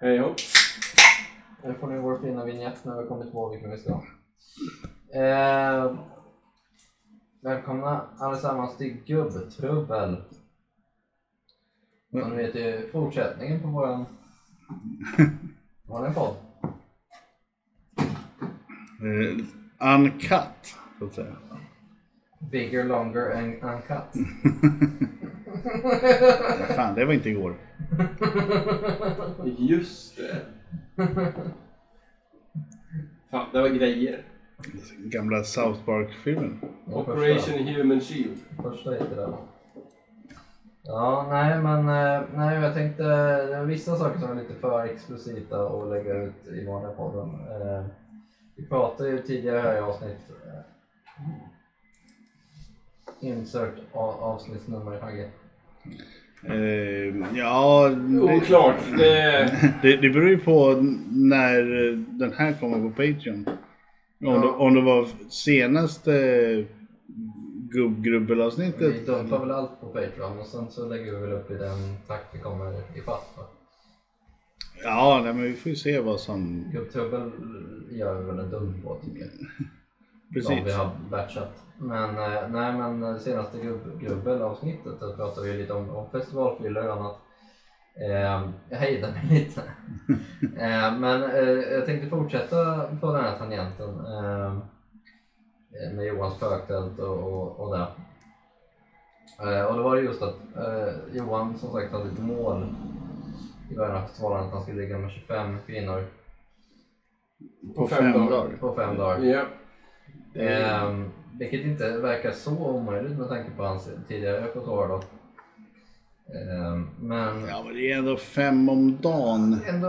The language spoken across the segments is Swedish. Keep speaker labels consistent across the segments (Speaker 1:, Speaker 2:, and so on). Speaker 1: Hej hopp. Nu får ni vår fina vignett när vi kommer till Vårvik när vi ska. Eh, välkomna allesammans till Gubbtrubbel. Som ni vet är fortsättningen på våran vanliga podd.
Speaker 2: Eh, uncut, så att säga.
Speaker 1: Bigger, longer and uncut.
Speaker 2: Fan, det var inte igår.
Speaker 3: Just det. Fan, det var grejer.
Speaker 2: Gamla South Park-filmen.
Speaker 1: Den
Speaker 3: Operation Human Shield.
Speaker 1: Första heter det. va? Ja, nej men eh, nej, jag tänkte det var vissa saker som är lite för explicita att lägga ut i vanliga podden. Eh, Vi pratade ju tidigare här i avsnitt eh, Insert a- avsnittsnummer Hagge.
Speaker 2: Eh, ja, det,
Speaker 3: Oklart. Det...
Speaker 2: det, det beror ju på när eh, den här kommer på Patreon. Om,
Speaker 1: Ja.
Speaker 2: det, om det var senaste gubbgrubbelavsnittet.
Speaker 1: Vi dumpar väl allt på Patreon och sen så lägger vi väl upp i den takt vi kommer ifatt. va?
Speaker 2: Ja, nej, men vi får ju se vad som...
Speaker 1: Gubbtrubbel gör vi väl en dump på tycker jag. som vi
Speaker 2: Precis.
Speaker 1: har batchat. Men, eh, nej, men eh, senaste grubb, grubbelavsnittet då pratade vi lite om, om festivalfyllor och annat. Eh, jag hejdade mig lite. eh, men eh, jag tänkte fortsätta på den här tangenten eh, med Johans spöktält och, och, och det. Eh, och då var det just att eh, Johan som sagt hade ett mål i början av festivalen att han skulle ligga med 25 kvinnor
Speaker 2: På fem dagar.
Speaker 1: på fem dagar.
Speaker 3: Ja.
Speaker 1: Ehm, vilket inte verkar så omöjligt med tanke på hans tidigare repertoar då. Ehm, men
Speaker 2: Ja, men det är ändå fem om dagen.
Speaker 1: ändå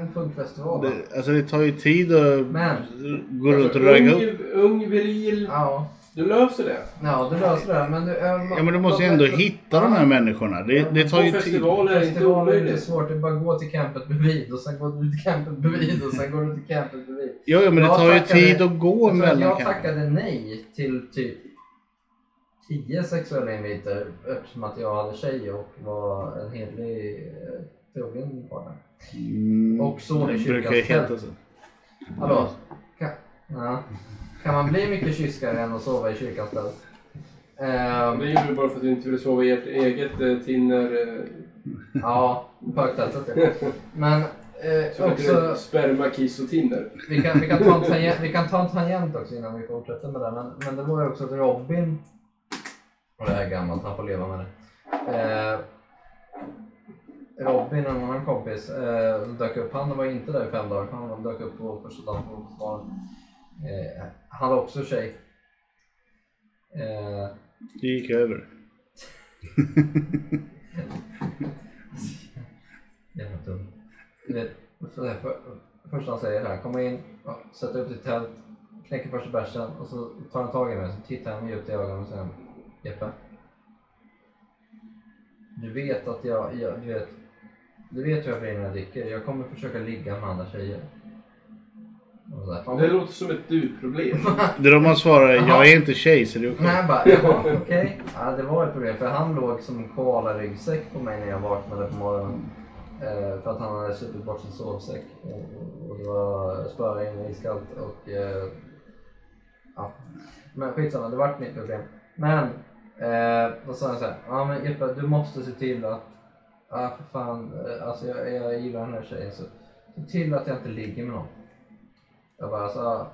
Speaker 1: en punkfestival. va?
Speaker 2: Det, alltså det tar ju tid att
Speaker 1: Men- alltså,
Speaker 2: gå runt och ragga upp.
Speaker 3: ung, ung, viril.
Speaker 1: Ja,
Speaker 3: Du löser det.
Speaker 1: ja, du löser det. här, Men du, eh,
Speaker 2: Ja men du måste ju ändå hitta de här människorna. Det, det tar
Speaker 3: På
Speaker 2: ju tid.
Speaker 3: festivaler är det inte
Speaker 1: Festivaler är inte
Speaker 3: omöjligt.
Speaker 1: svårt, det är bara att gå till campet bredvid och sen går du till campet bredvid och sen går du till campet bredvid.
Speaker 2: Ja, ja men det
Speaker 1: Jag
Speaker 2: tar ju
Speaker 1: tackade-
Speaker 2: tid att gå
Speaker 1: Jag, tror att
Speaker 2: mellan
Speaker 1: jag
Speaker 2: kanske.
Speaker 1: tackade nej till typ 10 sexuella inviter eftersom att jag hade tjej och var en hederlig eh, trogen partner.
Speaker 2: Mm,
Speaker 1: Och så är
Speaker 2: det brukar ju
Speaker 1: kyrkans
Speaker 2: heta så.
Speaker 1: Hallå? Kan, ja. kan man bli mycket kyskare än att sova i kyrkans tält? Ehm,
Speaker 3: Det gjorde du bara för att du inte ville sova i ert eget eh, tinner... eh,
Speaker 1: ja, pöktältet ja. Men
Speaker 3: Så
Speaker 1: eh,
Speaker 3: att du
Speaker 1: också,
Speaker 3: sperma, kiss och tinner.
Speaker 1: vi kan, vi, kan ta en tangent, vi kan ta en tangent också innan vi fortsätter med det. Men, men det var ju också att Robin, och det här är gammalt, han får leva med det. Eh, Robin, en annan kompis, eh, dök upp. Han var inte där i fem dagar. Han dök upp på första dagen på festivalen. Eh, han var också tjej. Eh,
Speaker 2: Det gick över.
Speaker 1: Jävla dum. Du vet, så där, för, första han säger det här, komma in, ja, sätta upp ditt tält, knäcker första bärsen och så tar han tag i mig, så tittar han mig djupt i ögonen och säger Jeppe. Du vet att jag, jag du vet, du vet hur jag blir när jag dricker. Jag kommer försöka ligga med andra tjejer. Och så där.
Speaker 3: Det låter som ett du-problem.
Speaker 2: Det är då man svarar,
Speaker 1: Jaha.
Speaker 2: jag är inte tjej så det är okej.
Speaker 1: Nej, jag bara, jaha, okej. Ja, det var ett problem, för han låg som en koala-ryggsäck på mig när jag vaknade på morgonen. Eh, för att han hade supit bort sin sovsäck. Och, och det var spöregn och iskallt och... Eh, ja. Men skitsamma, det vart mitt problem. Men, eh, då sa han så här, ja men Jeppe, du måste se till att... Ja, för fan, eh, alltså jag, jag gillar den här tjejen så se till att jag inte ligger med någon. Jag bara, alltså...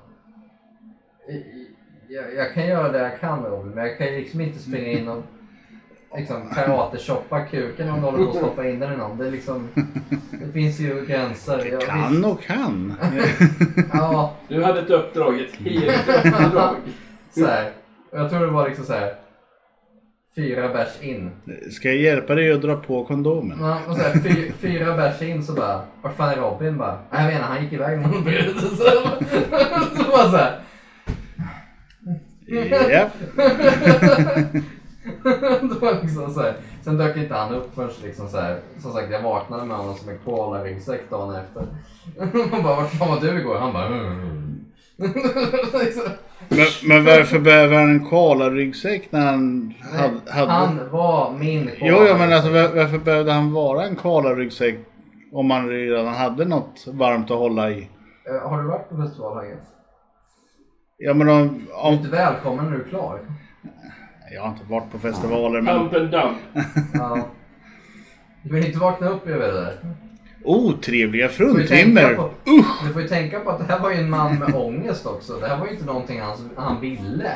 Speaker 1: i- i- Jag, jag kan göra det jag kan Robin, men jag kan ju liksom inte springa in och liksom, karate-choppa kuken om du håller på att stoppa in den i någon. Det, är liksom, det finns ju gränser. Jag,
Speaker 2: Kan och kan.
Speaker 1: Ja,
Speaker 3: Du hade ett uppdrag, ett helt uppdrag.
Speaker 1: så här. Och jag tror det var liksom så här. Fyra bärs in.
Speaker 2: Ska jag hjälpa dig att dra på kondomen?
Speaker 1: Man, man, så här, fy, fyra bärs in så bara, vart fan är Robin? Bara, "Nej, jag vet inte, han gick iväg med någon brud. Så, så bara så här.
Speaker 2: Ja.
Speaker 1: det var liksom så här. Sen dök inte han upp förrän liksom så här. Som sagt, jag vaknade med honom som en koalaryggsäck dagen efter. Man bara, vart fan var du igår? Han bara, mm. liksom.
Speaker 2: Men, men varför behöver han en koalaryggsäck när han hade... hade...
Speaker 1: Han var min
Speaker 2: Jo, jo men
Speaker 1: koalaryggsäck.
Speaker 2: alltså var- varför behövde han vara en koalaryggsäck Om man redan hade något varmt att hålla i.
Speaker 1: Eh, Har du varit på festivalhaget?
Speaker 2: Ja men om...
Speaker 1: Du är
Speaker 2: om
Speaker 1: inte välkommen när du är klar.
Speaker 2: jag har inte varit på festivaler men...
Speaker 3: Pump and dump.
Speaker 1: Ja. Du vill inte vakna upp över det där.
Speaker 2: Oh, trevliga
Speaker 1: Du får ju tänka
Speaker 2: fruntimmer!
Speaker 1: på-
Speaker 2: Usch!
Speaker 1: Du får ju tänka på att det här var ju en man med ångest också. Det här var ju inte någonting han, han ville.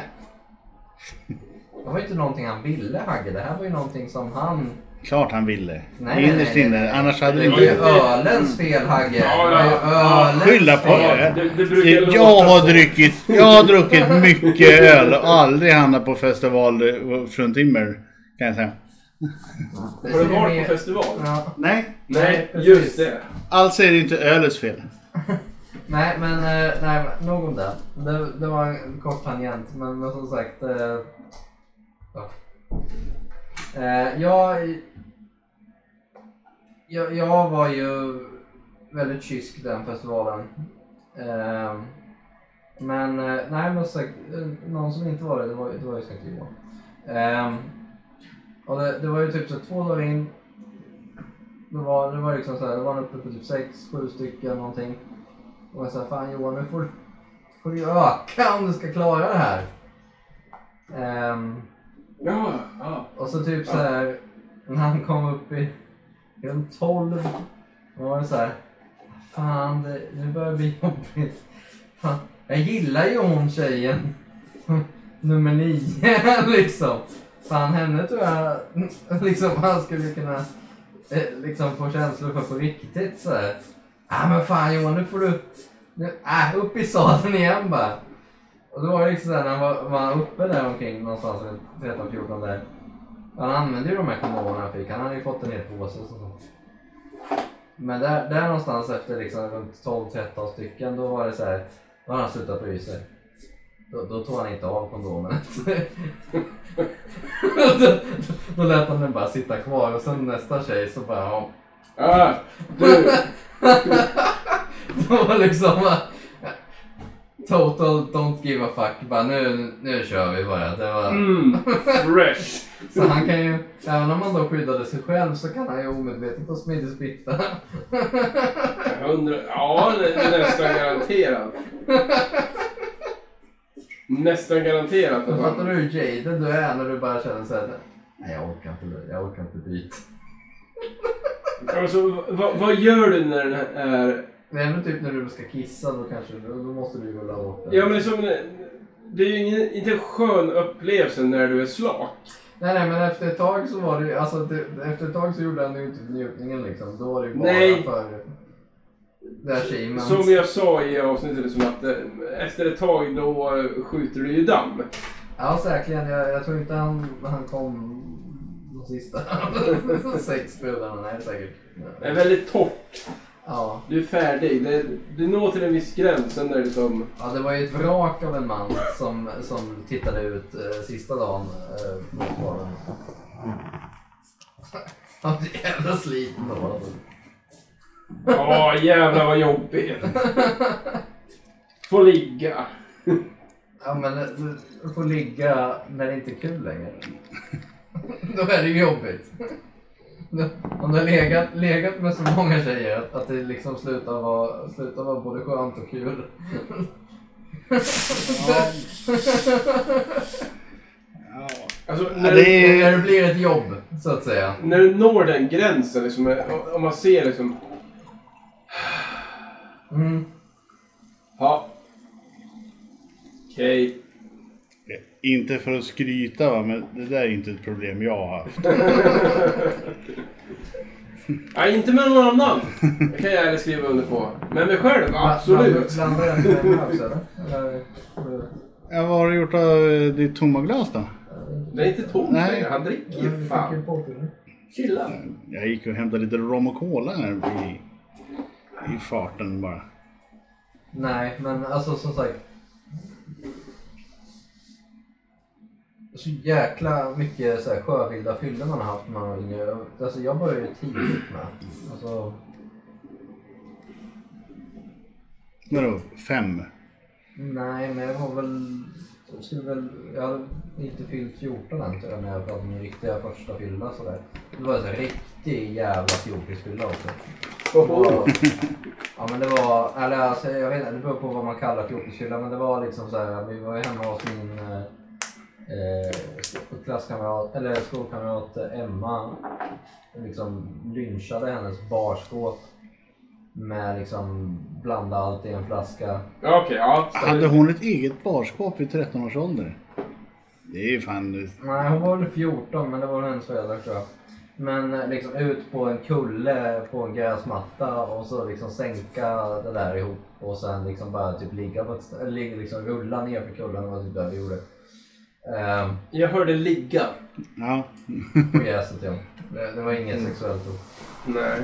Speaker 1: Det var ju inte någonting han ville Hagge. Det här var ju någonting som han...
Speaker 2: Klart han ville.
Speaker 1: Nej, nej,
Speaker 2: Innerst
Speaker 1: nej,
Speaker 2: inne.
Speaker 1: nej, nej.
Speaker 2: Annars hade
Speaker 1: Det
Speaker 2: vi
Speaker 1: var ju
Speaker 2: inte...
Speaker 1: ölens fel Hagge.
Speaker 3: Ja,
Speaker 1: Det var ju
Speaker 3: ja.
Speaker 1: ölens
Speaker 2: Skylla på det.
Speaker 1: fel.
Speaker 3: Det, det brukar låta
Speaker 2: Jag
Speaker 3: så.
Speaker 2: har druckit, jag har druckit mycket öl och aldrig hamnat på festival eh, fruntimmer. Kan jag säga.
Speaker 1: Det
Speaker 3: Har du
Speaker 1: ser ju
Speaker 3: varit
Speaker 1: mer-
Speaker 3: på festival?
Speaker 1: Ja.
Speaker 2: Nej.
Speaker 1: Nej,
Speaker 3: Nej,
Speaker 1: precis.
Speaker 3: just det.
Speaker 2: Alltså är det inte ölets fel.
Speaker 1: Nej, men eh, nej, nog om det. det. Det var en kort tangent, men, men som sagt. Eh, ja. eh, jag, jag, jag var ju väldigt kysk den festivalen. Eh, men eh, nej, men som sagt, eh, någon som inte var det, det var, det var ju Sankt Johan. Eh, och det, det var ju typ så här två dagar in. Det var, det var liksom så här, det var uppe på typ sex, sju stycken någonting. Och jag sa fan Johan nu får, får du öka om du ska klara det här. Ehm,
Speaker 3: Ja, ja.
Speaker 1: och så typ så här när han kom upp i runt 12. Då var det så här. Fan det, nu börjar det bli jobbigt. Fan, jag gillar ju hon tjejen. Nummer nio liksom. Fan henne tror jag liksom han skulle kunna eh, liksom få känslor för på riktigt så här. Ah, men fan Johan nu får du nu, ah, upp i sadeln igen bara. Och då var det liksom så här, när han var, var uppe där omkring någonstans runt 13-14 där. Han använde ju de här kondomerna han fick. Han hade ju fått en hel påse och sånt. Men där, där någonstans efter liksom runt 12-13 stycken då var det så här. Då hade han slutat bry sig. Då, då tog han inte av kondomen. då, då lät han den bara sitta kvar och sen nästa tjej så bara ja.
Speaker 3: Ah, du,
Speaker 1: Det var liksom... eh, Total don't give a fuck. Bara nu, nu kör vi bara. Det var...
Speaker 3: mm, fresh.
Speaker 1: Så han kan ju, även om han då skyddade sig själv så kan han ju omedvetet ha smidigt smitta.
Speaker 3: Jag undrar, ja, det är nästan garanterat. Nästan garanterat. att
Speaker 1: Fattar
Speaker 3: han-
Speaker 1: du hur jaded du är när du bara känner såhär, nej jag orkar inte, jag orkar inte dit.
Speaker 3: Alltså, vad, vad gör du när den här eh, är...
Speaker 1: Det är ändå typ när du ska kissa då kanske, då då måste du ju rulla bort det.
Speaker 3: Ja, men som, det är ju ingen, inte en skön upplevelse när du är slak.
Speaker 1: Nej nej men efter ett tag så var det ju, alltså det, efter ett tag så gjorde han ju inte för njutningen liksom. Då var det ju bara
Speaker 3: Nej.
Speaker 1: för the achievement.
Speaker 3: Som jag sa i avsnittet, liksom att eh, efter ett tag då eh, skjuter du ju damm.
Speaker 1: Ja säkerligen, jag, jag tror inte han, han kom de sista sex brudarna, nej säkert.
Speaker 3: Det är väldigt torrt.
Speaker 1: Ja.
Speaker 3: Du är färdig. Det, du når till en viss gräns, sen är det som...
Speaker 1: Ja, det var ju ett vrak av en man som, som tittade ut eh, sista dagen eh, mot baren. Han var så jävla sliten då. alltså.
Speaker 3: Ja, jävlar vad jobbig. Få ligga.
Speaker 1: Ja, men eh, du får ligga när det inte är kul längre. Då är det ju jobbigt. Om du har legat, legat med så många tjejer att, att det liksom slutar vara, slutar vara både skönt och kul.
Speaker 2: Ja.
Speaker 3: Alltså,
Speaker 2: Ja,
Speaker 3: när,
Speaker 2: det är
Speaker 1: När
Speaker 2: ju...
Speaker 1: det blir ett jobb, så att säga.
Speaker 3: när du når den gränsen, liksom, eh, om man ser liksom...
Speaker 1: Mm.
Speaker 3: Ja. Okej.
Speaker 2: Inte för att skryta va, men det där är inte ett problem jag har haft.
Speaker 3: Nej, inte med någon annan. Det kan jag ärligt skriva under på. Men mig själv, absolut.
Speaker 1: Blandar den med en öl, så eller? Eller, eller?
Speaker 2: Ja, vad har du gjort av eh, ditt tomma glas då?
Speaker 3: Det är inte tomt
Speaker 2: Nej.
Speaker 3: längre. Han dricker ju fan. Chilla.
Speaker 2: Jag gick och hämtade lite rom och cola här i, i farten bara.
Speaker 1: Nej, men alltså som sagt. Så jäkla mycket så här, sjövilda fyllor man har haft när man var yngre. Alltså jag började ju tidigt med. Alltså,
Speaker 2: Vadå? Fem?
Speaker 1: nej, men jag var väl... Jag, skulle väl, jag hade inte fyllt 14 än tror jag när jag hade min riktiga första fylla sådär. Det var en riktig jävla fjortisfylla också. Och- Ja men det var, eller alltså, jag vet inte, det beror på vad man kallar fjortisfylla men det var liksom så här, vi var ju hemma hos min eh, eh, sk- klasskamrat, eller skolkamrat Emma. Liksom lynchade hennes barskåp med liksom blanda allt i en flaska.
Speaker 3: Ja, Okej, ja.
Speaker 2: Hade hon ett eget barskåp vid 13 års ålder? Det är ju fan...
Speaker 1: Nej hon var väl 14 men det var hennes föräldrar tror jag. Men eh, liksom ut på en kulle på en gräsmatta och så liksom sänka det där ihop och sen liksom bara typ ligga på ett stä- eller ligga liksom rulla ner för kullen det var typ det vi gjorde. Ehm,
Speaker 3: Jag hörde ligga.
Speaker 2: Ja.
Speaker 1: på gräset ja. Det, det var inget sexuellt då.
Speaker 3: Nej.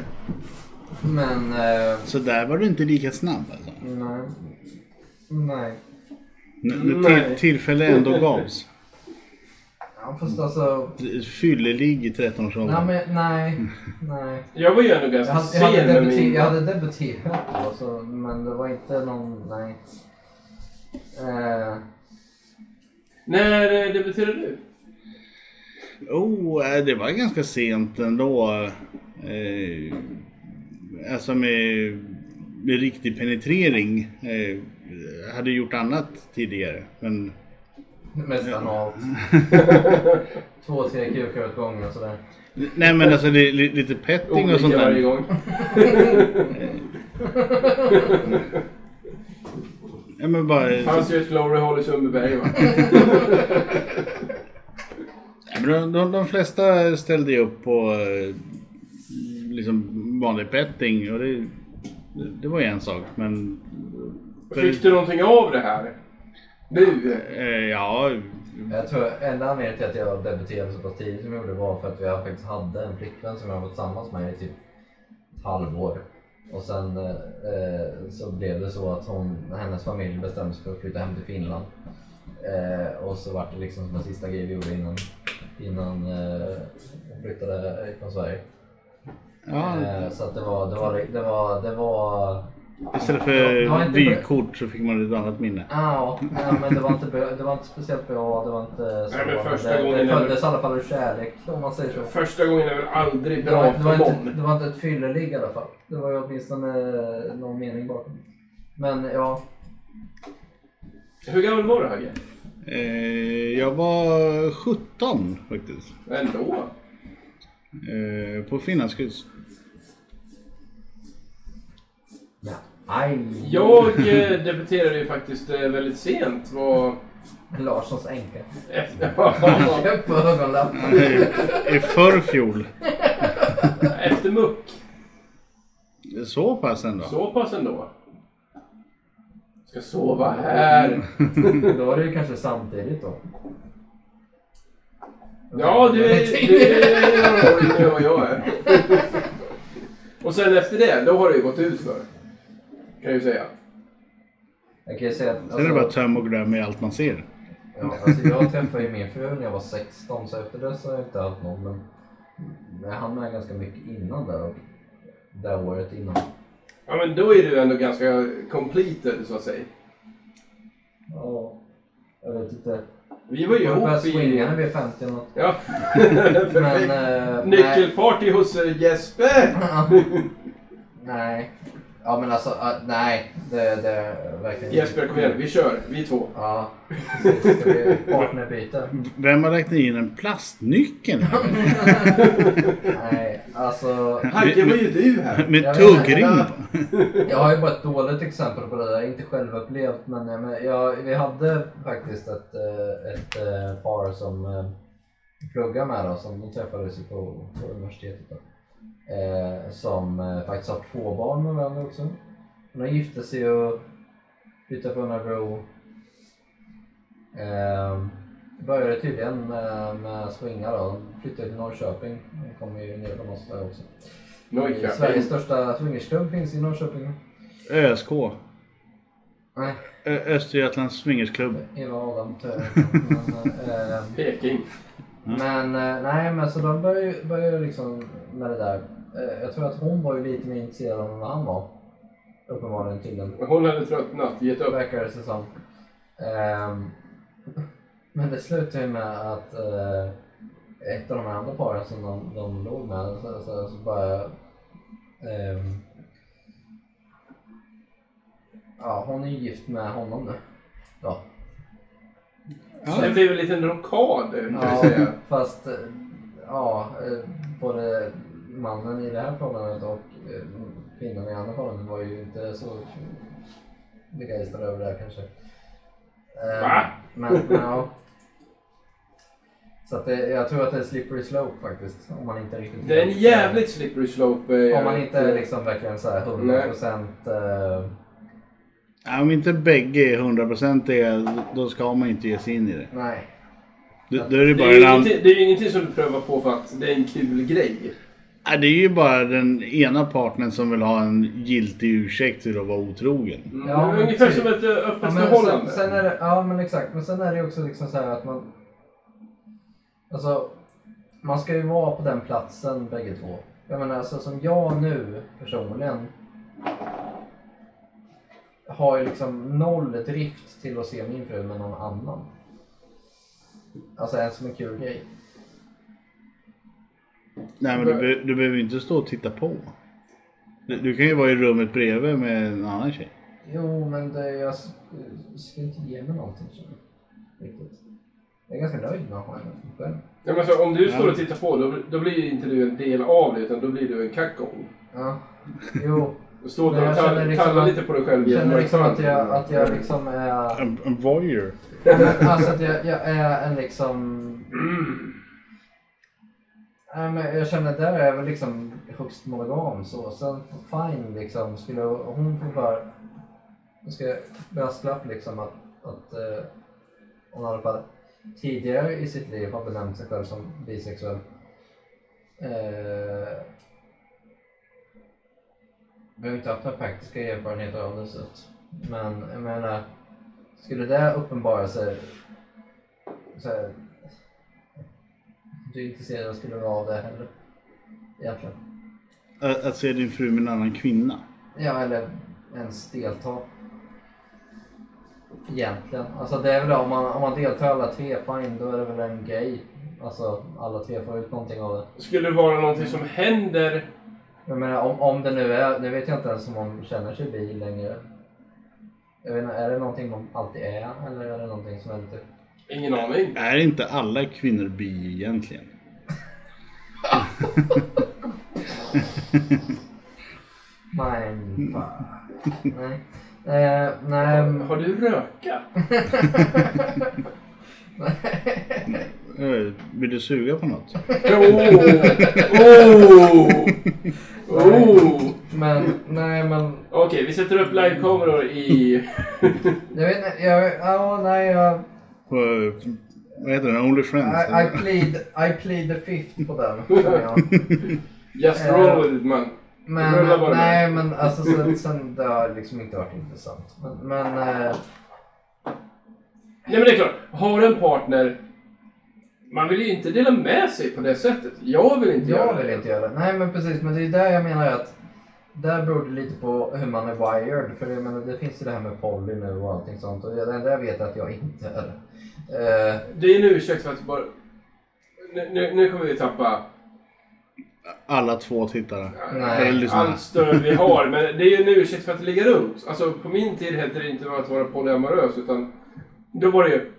Speaker 1: Men eh,
Speaker 2: Så där var du inte lika snabb alltså.
Speaker 1: nej. Nej.
Speaker 2: N- När
Speaker 3: Nej.
Speaker 2: till, tillfälle ändå gavs.
Speaker 1: Ja, fast alltså.
Speaker 2: Fyllelig i 13 års
Speaker 1: Nej,
Speaker 2: ålder.
Speaker 1: men, nej. nej.
Speaker 3: Jag var ju ändå
Speaker 1: Jag
Speaker 3: ganska
Speaker 1: hade, jag hade,
Speaker 3: sen med
Speaker 1: debuter-
Speaker 3: min...
Speaker 1: jag hade debuterat då, så, men det var inte någon, nej. Eh,
Speaker 3: När eh, debuterade du?
Speaker 2: Oh, eh, det var ganska sent ändå. Eh, alltså med, med riktig penetrering. Eh, jag hade gjort annat tidigare. Men
Speaker 1: nästan allt. Två, tre kukar åt gången och sådär.
Speaker 2: nej men alltså det, li, lite petting och sånt
Speaker 3: Olika varje
Speaker 2: där.
Speaker 3: gång.
Speaker 2: Ja, men bara, eh,
Speaker 3: Det fanns ju ett glory hall i Sundbyberg va?
Speaker 2: ja, men de, de, de flesta ställde ju upp på eh, liksom vanlig petting. Och det, det var ju en sak. Men
Speaker 3: Fick du någonting av det här? Nu?
Speaker 2: eh, ja,
Speaker 1: Jag tror enda anledningen till att jag debuterade så pass tidigt som jag gjorde var för att jag faktiskt hade en flickvän som jag var tillsammans med i typ ett halvår. Och sen eh, eh, så blev det så att hon, hennes familj bestämde sig för att flytta hem till Finland. Eh, och så var det liksom som en sista grej vi gjorde innan, innan eh, hon flyttade från Sverige.
Speaker 2: ja,
Speaker 1: Eh, så att det var, det var, det var, det var
Speaker 2: istället
Speaker 1: Det var
Speaker 2: för
Speaker 1: inte-
Speaker 2: vykort så fick man ett annat minne.
Speaker 1: Ah, Ja, nej, men det var, inte, bra- det var inte speciellt bra. Det var inte så.
Speaker 3: Nej, men första
Speaker 1: det,
Speaker 3: gången-
Speaker 1: det föddes i alla fall ur kärlek om man säger så.
Speaker 3: Första gången är väl aldrig
Speaker 1: Det var,
Speaker 3: bra
Speaker 1: det, var
Speaker 3: för
Speaker 1: inte,
Speaker 3: någon?
Speaker 1: det var inte ett fylleligg i alla fall. Det var ju åtminstone eh, någon mening bakom. Men ja,
Speaker 3: Hur gammal var du Hagge?
Speaker 2: Eh, jag var 17 faktiskt.
Speaker 3: Ändå?
Speaker 2: Eh, på finlandskryss.
Speaker 1: aj.
Speaker 3: Jag eh, debuterade ju faktiskt eh, väldigt sent. Var
Speaker 1: Larssons änka.
Speaker 3: efter,
Speaker 1: Upp på ögonlappen.
Speaker 2: Eh, I förfjol.
Speaker 3: efter muck.
Speaker 2: Så pass ändå.
Speaker 3: Så pass ändå. Ska sova här.
Speaker 1: Då var det ju kanske samtidigt då.
Speaker 3: Ja, du är, du är rolig nu och jag är. Och sen efter det, då har det ju gått ut för. Kan jag ju säga.
Speaker 1: Jag kan ju säga att...
Speaker 2: Sen är det
Speaker 1: alltså-
Speaker 2: bara töm och glöm i allt man ser.
Speaker 1: Ja, alltså jag träffade ju min fru när jag var 16 så efter det så har jag inte haft någon. Men, men jag hann med ganska mycket innan där och det här året innan.
Speaker 3: Ja men då är du ändå ganska completed så att säga.
Speaker 1: Ja, jag vet inte.
Speaker 3: Vi var ju
Speaker 1: Jag började
Speaker 3: ihop
Speaker 1: swinga
Speaker 3: i...
Speaker 1: när vi är 50 eller något.
Speaker 3: Ja.
Speaker 1: Men...
Speaker 3: Perfekt.
Speaker 1: eh, nej.
Speaker 3: Nyckelparty hos eh, Jesper!
Speaker 1: nej. Ja men alltså, ah, nej. Det, det är verkligen
Speaker 3: Jesper kom igen, vi kör, vi två.
Speaker 1: Ja. precis. Ska vi partnerbyte?
Speaker 2: Vem har räknat in en plastnyckel? här?
Speaker 1: Nej, alltså.
Speaker 3: Hagge var ju du här.
Speaker 2: Med
Speaker 1: Jag
Speaker 2: tuggrim
Speaker 1: vet
Speaker 2: på.
Speaker 1: Jag har ju bara ett dåligt exempel på det där, inte självupplevt men, eh, men jag, vi hade faktiskt ett, eh, ett eh, par som eh, pluggade med oss, som de träffades ju på, på universitetet då, eh, som eh, faktiskt har två barn med varandra också. De gifte sig och flyttade på Örebro. Eh, började tydligen med, med swinga då, de flyttade till Norrköping, de kommer ju ner från oss där också.
Speaker 3: Nojka.
Speaker 1: Sveriges största swingersklubb finns i Norrköping.
Speaker 2: ÖSK.
Speaker 1: Nej,
Speaker 2: Ö- Östergötlands swingersklubb.
Speaker 1: Eva Adam Töre. Men, eh,
Speaker 3: Peking.
Speaker 1: men eh, nej, men så de började ju- började ju liksom med det där. Eh, jag tror att hon var ju lite mer intresserad av än vad han var. Uppenbarligen tydligen.
Speaker 3: Hon hade tröttnat, gett upp.
Speaker 1: Verkar det som. Ehm, men det slutade ju med att eh, ett av de andra paren som de, de låg med så, så, så bara ehm, Ja, hon är ju gift med honom nu. Ja.
Speaker 3: Så det
Speaker 2: Ja.
Speaker 3: blev en liten rockad kan vi
Speaker 1: Ja,
Speaker 3: säga.
Speaker 1: fast eh, ja, eh, både mannen i det här förhållandet och eh, kvinnan i andra förhållandet var ju inte så begeistrade över det här kanske. Eh,
Speaker 3: Va?
Speaker 1: Men, men ja. Så att det, jag tror att det är slippery slope faktiskt. Om man inte riktigt
Speaker 3: Det är en jävligt slippery slope. eh,
Speaker 1: Om man inte liksom verkligen så här 100 procent... Eh,
Speaker 2: Ja, Om inte bägge är hundraprocentiga, då ska man inte ge sig in i det.
Speaker 1: nej.
Speaker 2: Då, då är det,
Speaker 3: Det
Speaker 2: bara
Speaker 3: är, ju
Speaker 2: en an...
Speaker 3: ingenting, det är ju ingenting som du prövar på för att det är en kul grej.
Speaker 2: ja, det är ju bara den ena partnern som vill ha en giltig ursäkt till att vara otrogen.
Speaker 3: Mm.
Speaker 1: Ja, men
Speaker 3: Ungefär
Speaker 1: typ.
Speaker 3: som ett eh, öppet
Speaker 1: Ja, men sen,
Speaker 3: förhållande.
Speaker 1: sen är det, ja men exakt, men sen är det ju också liksom så här att man... Alltså, man ska ju vara på den platsen bägge två. Jag menar, så som jag nu personligen har ju liksom noll drift till att se min fru med någon annan. Alltså en som en kul grej.
Speaker 2: Nej, men du, be- du behöver ju inte stå och titta på. Du, du kan ju vara i rummet bredvid med en annan tjej.
Speaker 1: Jo, men det, jag s- skulle inte ge mig någonting känner jag. Riktigt. Jag är ganska nöjd med att ha henne själv.
Speaker 3: Ja, men så om du
Speaker 2: Ja.
Speaker 3: står och tittar på, då, då blir ju inte du en del av det, utan då blir du en kackon.
Speaker 1: Ja, jo.
Speaker 3: Och står
Speaker 1: Men
Speaker 3: där
Speaker 1: jag
Speaker 3: och tall-
Speaker 1: känner liksom
Speaker 3: tallar
Speaker 1: att-
Speaker 3: lite på dig själv.
Speaker 1: Jag känner
Speaker 3: genom
Speaker 1: liksom att jag,
Speaker 3: restaurangen.
Speaker 1: att jag liksom är...
Speaker 2: En, en voyeur.
Speaker 1: Alltså att jag, jag är en liksom...
Speaker 3: Mm.
Speaker 1: Nej, men jag känner där är jag väl liksom högst monogam så. Sen fine liksom, skulle jag- hon få bara... Jag ska brasklapp liksom att, att eh, hon i alla fall tidigare i sitt liv har benämnt sig själv som bisexuell. Eh, vi har inte haft några praktiska erfarenheter av det så att, men jag menar, skulle det uppenbara sig så här, du är intresserad skulle vara av det heller. Egentligen.
Speaker 2: Att, att se din fru med en annan kvinna.
Speaker 1: Ja, eller ens delta. Egentligen. Alltså det är väl om man, om man deltar alla tre, fine, då är det väl en grej. Alltså alla tre får ut någonting av det.
Speaker 3: Skulle det vara någonting som händer...
Speaker 1: Jag menar om, om det nu är, nu vet jag inte ens om hon känner sig bi längre. Jag vet inte, är det någonting man alltid är eller är det någonting som är lite...
Speaker 3: Ingen aning.
Speaker 2: Är inte alla kvinnor bi egentligen?
Speaker 1: Nej, fan. nej. Eh, nej.
Speaker 3: Har du röka?
Speaker 2: Eh, Vill du suga på något?
Speaker 3: Oh! Oh! Oh!
Speaker 1: Men, nej men.
Speaker 3: Okej, vi sätter upp livekameror i...
Speaker 1: Jag vet inte, jag, ja, nej jag...
Speaker 2: På, vad heter den? Only Friends?
Speaker 1: I, I, plead, I plead the fifth på den. känner jag. Eh.
Speaker 3: Just roll with it man.
Speaker 1: Men,
Speaker 3: Rulla bara
Speaker 1: nej, men alltså sen, sen det har liksom inte varit intressant. Men, men eh,
Speaker 3: Nej men det är klart, har en partner... Man vill ju inte dela med sig på det sättet. Jag vill inte
Speaker 1: jag
Speaker 3: göra
Speaker 1: vill
Speaker 3: det.
Speaker 1: inte göra det. Nej, men precis. Men det är där jag menar att där beror det lite på hur man är wired. För jag menar, det finns ju det här med poly nu och allting sånt. Och det enda jag vet är att jag inte är det. Eh,
Speaker 3: Det är en ursäkt för att bara... Nu, nu, nu kommer vi tappa
Speaker 2: Alla två tittare.
Speaker 1: Nej,
Speaker 2: Eller lyssnare.
Speaker 3: allt stöd vi har. Men det är ju en ursäkt för att ligga runt. Alltså på min tid hette det inte att vara polyamorös utan då var det ju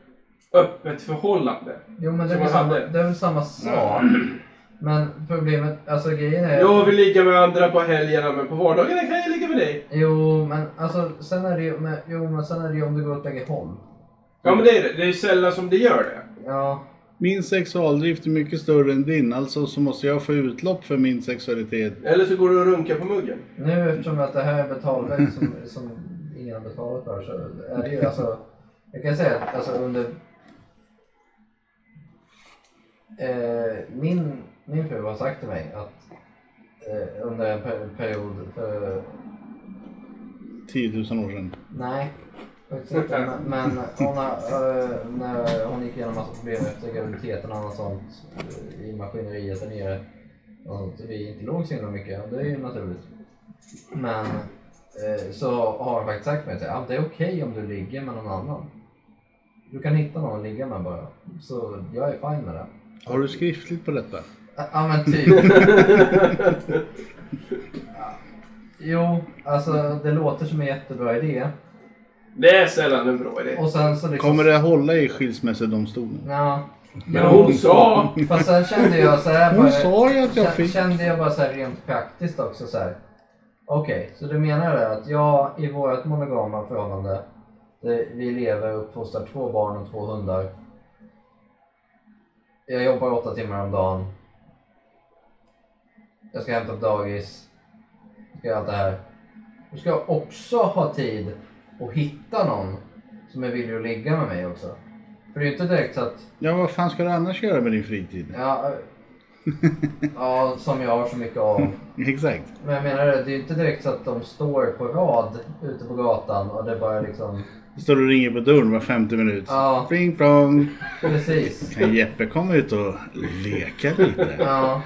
Speaker 3: öppet förhållande.
Speaker 1: jo, men det
Speaker 3: Som
Speaker 1: är, väl
Speaker 3: man
Speaker 1: samma,
Speaker 3: hade.
Speaker 1: det är väl samma sak. Men problemet, alltså grejen är...
Speaker 3: Jag vill ligga med andra på helgerna men på vardagarna kan jag ligga med dig.
Speaker 1: Jo, men alltså sen är det ju men, jo, men sen är det ju om det går åt bägge håll.
Speaker 3: Ja men det är det. Det är ju sällan som det gör det.
Speaker 1: Ja,
Speaker 2: Min sexualdrift är mycket större än din, alltså så måste jag få utlopp för min sexualitet.
Speaker 3: Eller så går du och runkar på muggen.
Speaker 1: nu eftersom att det här är betalväg som, som ingen har betalat för så är det ju alltså. Jag kan säga att alltså, under eh, min, min fru har sagt till mig att eh, under en per- period för
Speaker 2: 10 000 år sedan.
Speaker 1: Nej, faktiskt inte. Men- Men hon har, eh, när hon gick igenom massa problem efter graviditeten och annat sånt eh, i maskineriet där nere. Och sånt, vi inte låg så himla mycket och det är ju naturligt. Men eh, så har hon faktiskt sagt till mig att ah, det är okej om du ligger med någon annan. Du kan hitta någon att ligga med bara. Så jag är fine med det.
Speaker 2: Har du skriftligt på detta?
Speaker 1: Ja men typ. Jo, alltså det låter som en jättebra idé.
Speaker 3: Det är sällan en bra idé.
Speaker 1: Och sen så liksom...
Speaker 2: Kommer det hålla i skilsmässodomstolen?
Speaker 1: Ja.
Speaker 3: Men hon sa...
Speaker 1: Fast sen kände jag så här
Speaker 2: Hon sa ju att jag
Speaker 1: Sen
Speaker 2: fick.
Speaker 1: kände jag bara så här rent praktiskt också så här. Okej, så du menar det att jag i vårt monogama förhållande, det, vi lever och uppfostrar två barn och två hundar. Jag jobbar åtta timmar om dagen. Jag ska hämta på dagis. Jag ska göra allt det här. Då ska jag också ha tid att hitta någon som är villig att ligga med mig också. För det är ju inte direkt så att
Speaker 2: Ja, vad fan ska du annars göra med din fritid?
Speaker 1: Ja, eh, ja, som jag har så mycket av.
Speaker 2: Exakt.
Speaker 1: Men jag menar, det är ju inte direkt så att de står på rad ute på gatan och det bara liksom...
Speaker 2: Står du och ringer på dörren var femte minut.
Speaker 1: Ja.
Speaker 2: Pling plong.
Speaker 1: Precis.
Speaker 2: Kan Jeppe komma ut och leka lite?
Speaker 1: Ja.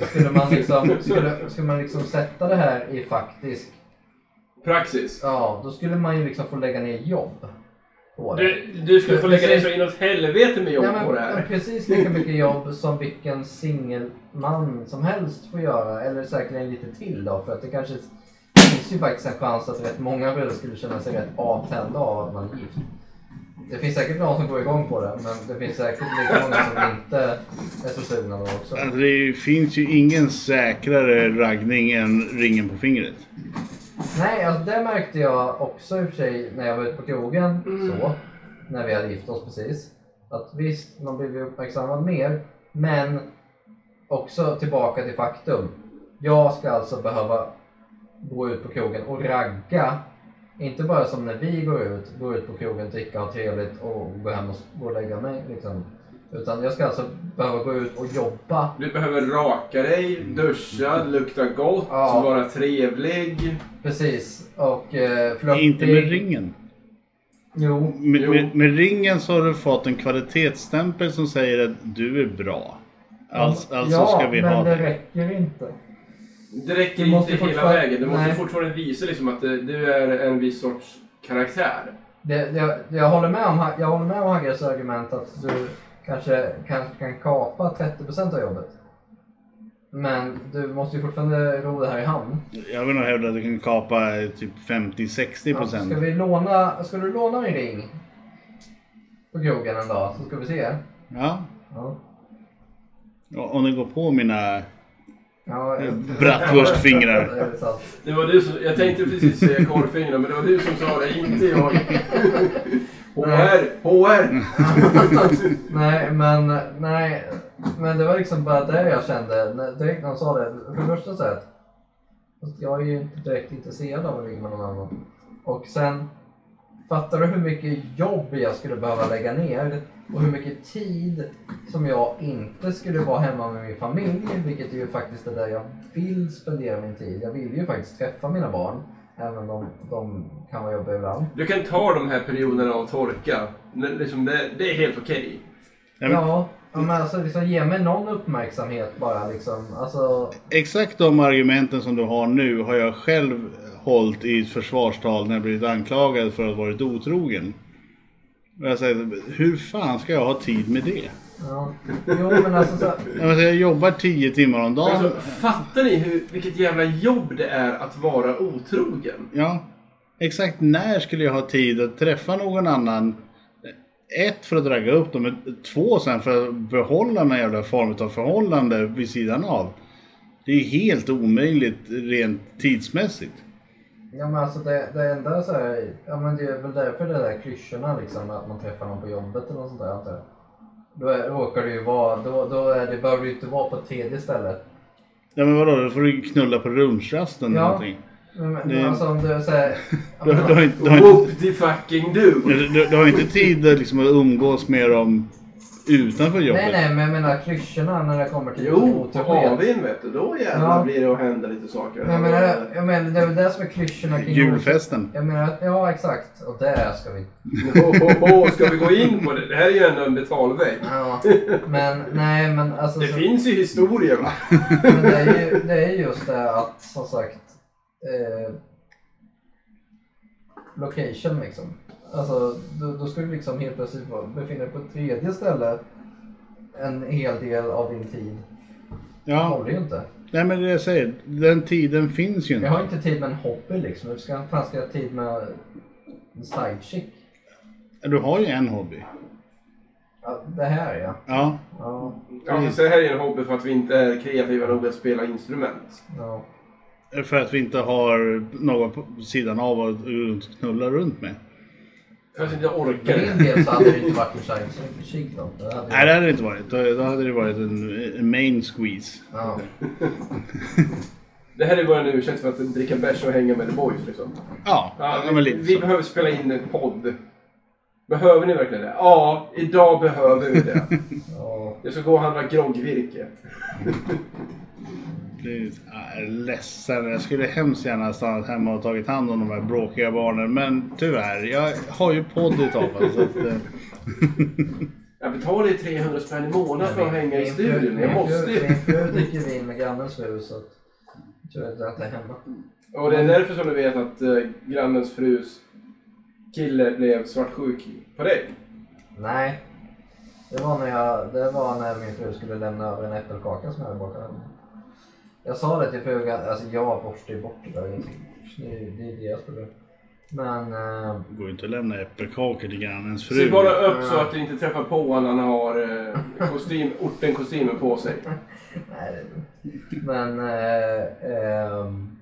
Speaker 1: Skulle man liksom, skulle, skulle man liksom sätta det här i faktisk...
Speaker 3: Praxis.
Speaker 1: Ja, då skulle man ju liksom få lägga ner jobb på det.
Speaker 3: Du, du skulle få lägga ner så inåt helvete med jobb
Speaker 1: Nej, men,
Speaker 3: på det
Speaker 1: men
Speaker 3: här.
Speaker 1: precis lika mycket jobb som vilken singelman som helst får göra. Eller säkerligen lite till då. För att det kanske det finns ju faktiskt en chans att rätt många bröder skulle känna sig rätt avtända av att man är gift. Det finns säkert någon som går igång på det. Men det finns säkert lika många som inte är så sugna då också.
Speaker 2: Alltså, det finns ju ingen säkrare raggning än ringen på fingret.
Speaker 1: Nej, alltså, det märkte jag också i och för sig när jag var ute på krogen. Så, när vi hade gift oss precis. Att visst, man blev ju uppmärksammad mer. Men också tillbaka till faktum. Jag ska alltså behöva gå ut på krogen och ragga. Inte bara som när vi går ut, gå ut på krogen, dricka, ha trevligt och gå hem och s- gå och lägga mig. Liksom. Utan jag ska alltså behöva gå ut och jobba.
Speaker 3: Du behöver raka dig, duscha, lukta gott,
Speaker 1: Ja.
Speaker 3: vara trevlig.
Speaker 1: Precis. Och eh, flörtig.
Speaker 2: Inte med ringen.
Speaker 1: Jo.
Speaker 2: Med,
Speaker 3: Jo.
Speaker 2: med, med ringen så har du fått en kvalitetsstämpel som säger att du är bra. Alltså, alltså
Speaker 1: ja,
Speaker 2: ska vi
Speaker 1: men
Speaker 2: ha
Speaker 1: det
Speaker 2: dig.
Speaker 1: räcker inte.
Speaker 3: Det räcker
Speaker 1: Du måste
Speaker 3: inte hela
Speaker 1: fortfar-
Speaker 3: vägen. Du måste
Speaker 1: Nej.
Speaker 3: fortfarande visa liksom att eh, du är en viss sorts karaktär.
Speaker 1: Det, det, det, jag håller med om, Ha- jag håller med om Hagges argument att du kanske, kanske kan kapa 30% av jobbet. Men du måste ju fortfarande ro det här i hamn.
Speaker 2: Jag vill nog hävda att du kan kapa eh, typ 50-60
Speaker 1: Ja,
Speaker 2: procent.
Speaker 1: ska, vi låna, ska du låna min ring på krogen en dag så ska vi se?
Speaker 2: Ja,
Speaker 1: Ja.
Speaker 2: och- om det går på mina
Speaker 1: Ja,
Speaker 2: eh,
Speaker 1: jag- det
Speaker 2: bratwurstfingrar.
Speaker 1: är sant.
Speaker 3: Det var du som, jag tänkte precis säga korvfingrarna, men det var du som sa det, inte jag. HR! HR!
Speaker 1: Nej, men, nej, men det var liksom bara det jag kände när- direkt när han sa det. För det första så här, att fast jag är ju inte direkt intresserad av att ligga med någon annan. Och sen, fattar du hur mycket jobb jag skulle behöva lägga ner? Och hur mycket tid som jag inte skulle vara hemma med min familj, vilket är ju faktiskt är där jag vill spendera min tid. Jag vill ju faktiskt träffa mina barn, även om de, de kan vara jobbiga ibland.
Speaker 3: Du kan ta de här perioderna av torka. Det, liksom det, det är helt okej.
Speaker 2: Ja, men-
Speaker 1: Ja, ja, men alltså liksom, ge mig någon uppmärksamhet bara liksom. Alltså,
Speaker 2: Exakt de argumenten som du har nu har jag själv hållit i ett försvarstal när jag blivit anklagad för att ha varit otrogen. Och jag säger, hur fan ska jag ha tid med det?
Speaker 1: ja. Jo men alltså så,
Speaker 2: Jag, menar, jag jobbar 10 timmar om dagen.
Speaker 3: Alltså, fattar ni hur, vilket jävla jobb det är att vara otrogen?
Speaker 2: Ja. Exakt när skulle jag ha tid att träffa någon annan? Ett för att ragga upp dem, men två sen för att behålla någon jävla form av förhållande vid sidan av. Det är helt omöjligt rent tidsmässigt.
Speaker 1: ja, men alltså det, det enda så här, ja men det är väl därför det där klyschorna liksom att man träffar någon på jobbet eller något sånt där antar jag. Då är, råkar det ju vara, då, då är det, behöver du ju inte vara på ett tredje ställe.
Speaker 2: Ja men vadå, då får du knulla på lunchrasten eller
Speaker 1: Ja.
Speaker 2: någonting.
Speaker 1: Men, men
Speaker 2: Det-
Speaker 1: alltså om du är såhär,
Speaker 2: Du, du, har, inte- du, har, inte-
Speaker 3: Whoop the fucking do!
Speaker 2: du, du, du har inte tid att liksom, att umgås med dem utanför jobbet.
Speaker 1: nej nej men jag menar klyschorna när det kommer till
Speaker 3: Jo, på
Speaker 1: otrohet.
Speaker 3: AWn vet du, då jävlar
Speaker 1: Ja.
Speaker 3: blir det att hända lite saker.
Speaker 1: Men Jag menar, jag menar, det är väl det som är klyschorna kring
Speaker 2: Julfesten.
Speaker 1: Jag menar, ja exakt. Och det ska vi
Speaker 3: Ho, ho, ho, ska vi gå in på det? Det här är ju ändå en betalvägg.
Speaker 1: Ja, men nej men alltså.
Speaker 3: Det
Speaker 1: så-
Speaker 3: finns ju historier va?
Speaker 1: men det, är ju, det är just det att som sagt. Eh, location liksom. Alltså då, då ska du liksom helt plötsligt vara- befinna dig på ett tredje ställe en hel del av din tid. Det
Speaker 2: Ja,
Speaker 1: håller ju inte.
Speaker 2: nej men det jag säger, den tiden finns ju inte.
Speaker 1: Jag har inte tid med en hobby liksom. Hur ska, fan ska jag ha tid med En sidechick?
Speaker 2: Du har ju en hobby.
Speaker 1: Ja, det här ja.
Speaker 2: Ja.
Speaker 1: Ja,
Speaker 3: Ja,
Speaker 1: Mm.
Speaker 3: fast det här är en hobby för att vi inte är kreativa nog att spela instrument.
Speaker 1: ja.
Speaker 2: För att vi inte har någon på sidan av att runt- knulla runt med.
Speaker 3: För att vi inte
Speaker 1: För
Speaker 3: orkar.
Speaker 1: min del så hade det inte varit en sidechick då. Det hade
Speaker 2: Nej,
Speaker 1: jag-
Speaker 2: det hade det inte varit. Då, då hade det varit en, en main squeeze.
Speaker 1: Ja.
Speaker 3: Det här är bara en ursäkt för att dricka bärs och hänga med the boys liksom.
Speaker 2: Ja,
Speaker 3: Ja,
Speaker 2: ja men
Speaker 3: vi,
Speaker 2: lite
Speaker 3: vi
Speaker 2: så.
Speaker 3: behöver spela in en podd. Behöver ni verkligen det? Ja, idag behöver vi det.
Speaker 1: ja.
Speaker 3: Jag ska gå och handla groggvirke.
Speaker 2: Precis. Ja, Jag är ledsen, jag skulle hemskt gärna ha stannat hemma och tagit hand om de här bråkiga barnen. Men tyvärr, jag har ju podd i taget. Så att, eh,
Speaker 3: Jag betalar ju 300 spänn i månaden för att hänga i
Speaker 1: Min fru-
Speaker 3: studion. Jag
Speaker 1: min
Speaker 3: måste
Speaker 1: fru-
Speaker 3: ju.
Speaker 1: Min fru dricker vin med grannens fru så att... jag Tror inte att det är hemma.
Speaker 3: Och det är därför som du vet att eh, grannens frus kille blev svartsjuk på dig.
Speaker 1: Nej. Det var, när jag, det var när min fru skulle lämna över en äppelkaka som jag hade bakat hemma. Jag sa det till frugan, alltså jag borstar ju bort det där. Det är det är deras problem. Men... Eh,
Speaker 2: det går ju inte att lämna äppelkakor till grannens
Speaker 3: Se
Speaker 2: fru.
Speaker 3: bara upp så att du inte träffar på honom när han har eh, kostym, orten-kostymen på sig.
Speaker 1: nej, det är dumt. Men... Eh, ehm,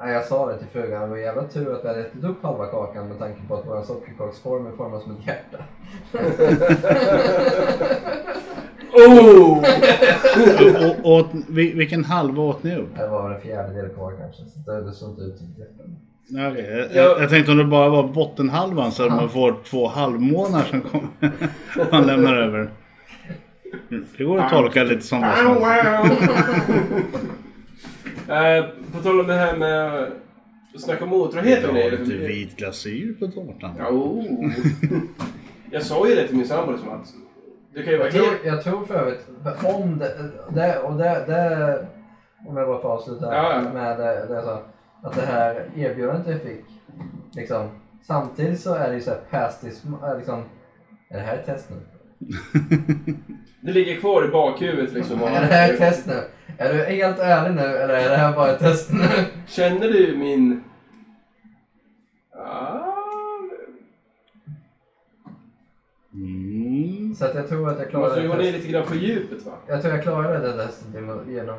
Speaker 1: nej, jag sa det till frugan, det var jävla tur att vi hade ätit upp halva kakan med tanke på att vår sockerkaksform är formad som ett hjärta.
Speaker 3: Oh!
Speaker 2: Och, och, åt, vil- vilken halva åt ni upp?
Speaker 1: Det var väl en fjärdedel kvar kanske, så det, det såg inte ut som ett hjärta.
Speaker 2: Nej, okej. Jag,
Speaker 3: Ja.
Speaker 2: jag, jag tänkte om det bara var bottenhalvan så att man får två halvmånar som kom, man lämnar över. Det går att tolka lite som vad som
Speaker 3: Wow,
Speaker 2: helst.
Speaker 3: wow. Eh, På tal om det här med att snacka om otrohet och
Speaker 2: Jag har
Speaker 3: grejer.
Speaker 2: lite
Speaker 3: liksom.
Speaker 2: vit glasyr på tårtan.
Speaker 3: Ja, oh. Jag sa ju det till min sambo liksom att du kan ju vara
Speaker 1: Jag tror,
Speaker 3: helt...
Speaker 1: jag tror för övrigt, för om det, det, och det, det om jag bara får avsluta
Speaker 3: Ja, ja.
Speaker 1: med det, det jag sa, att det här erbjudandet jag fick, liksom, samtidigt så är det ju såhär past this, äh, liksom, är det här ett test nu?
Speaker 3: Det ligger kvar i bakhuvudet liksom.
Speaker 1: Är det här ett test nu? Är du helt ärlig nu eller är det här bara ett test nu?
Speaker 3: Känner du min... Ah,
Speaker 2: Mm.
Speaker 1: Så att jag tror att jag
Speaker 3: Du måste ju gå
Speaker 1: klarar
Speaker 3: ner
Speaker 1: det.
Speaker 3: alltså, lite grann på djupet va?
Speaker 1: Jag tror jag klarade det testet genom- genom...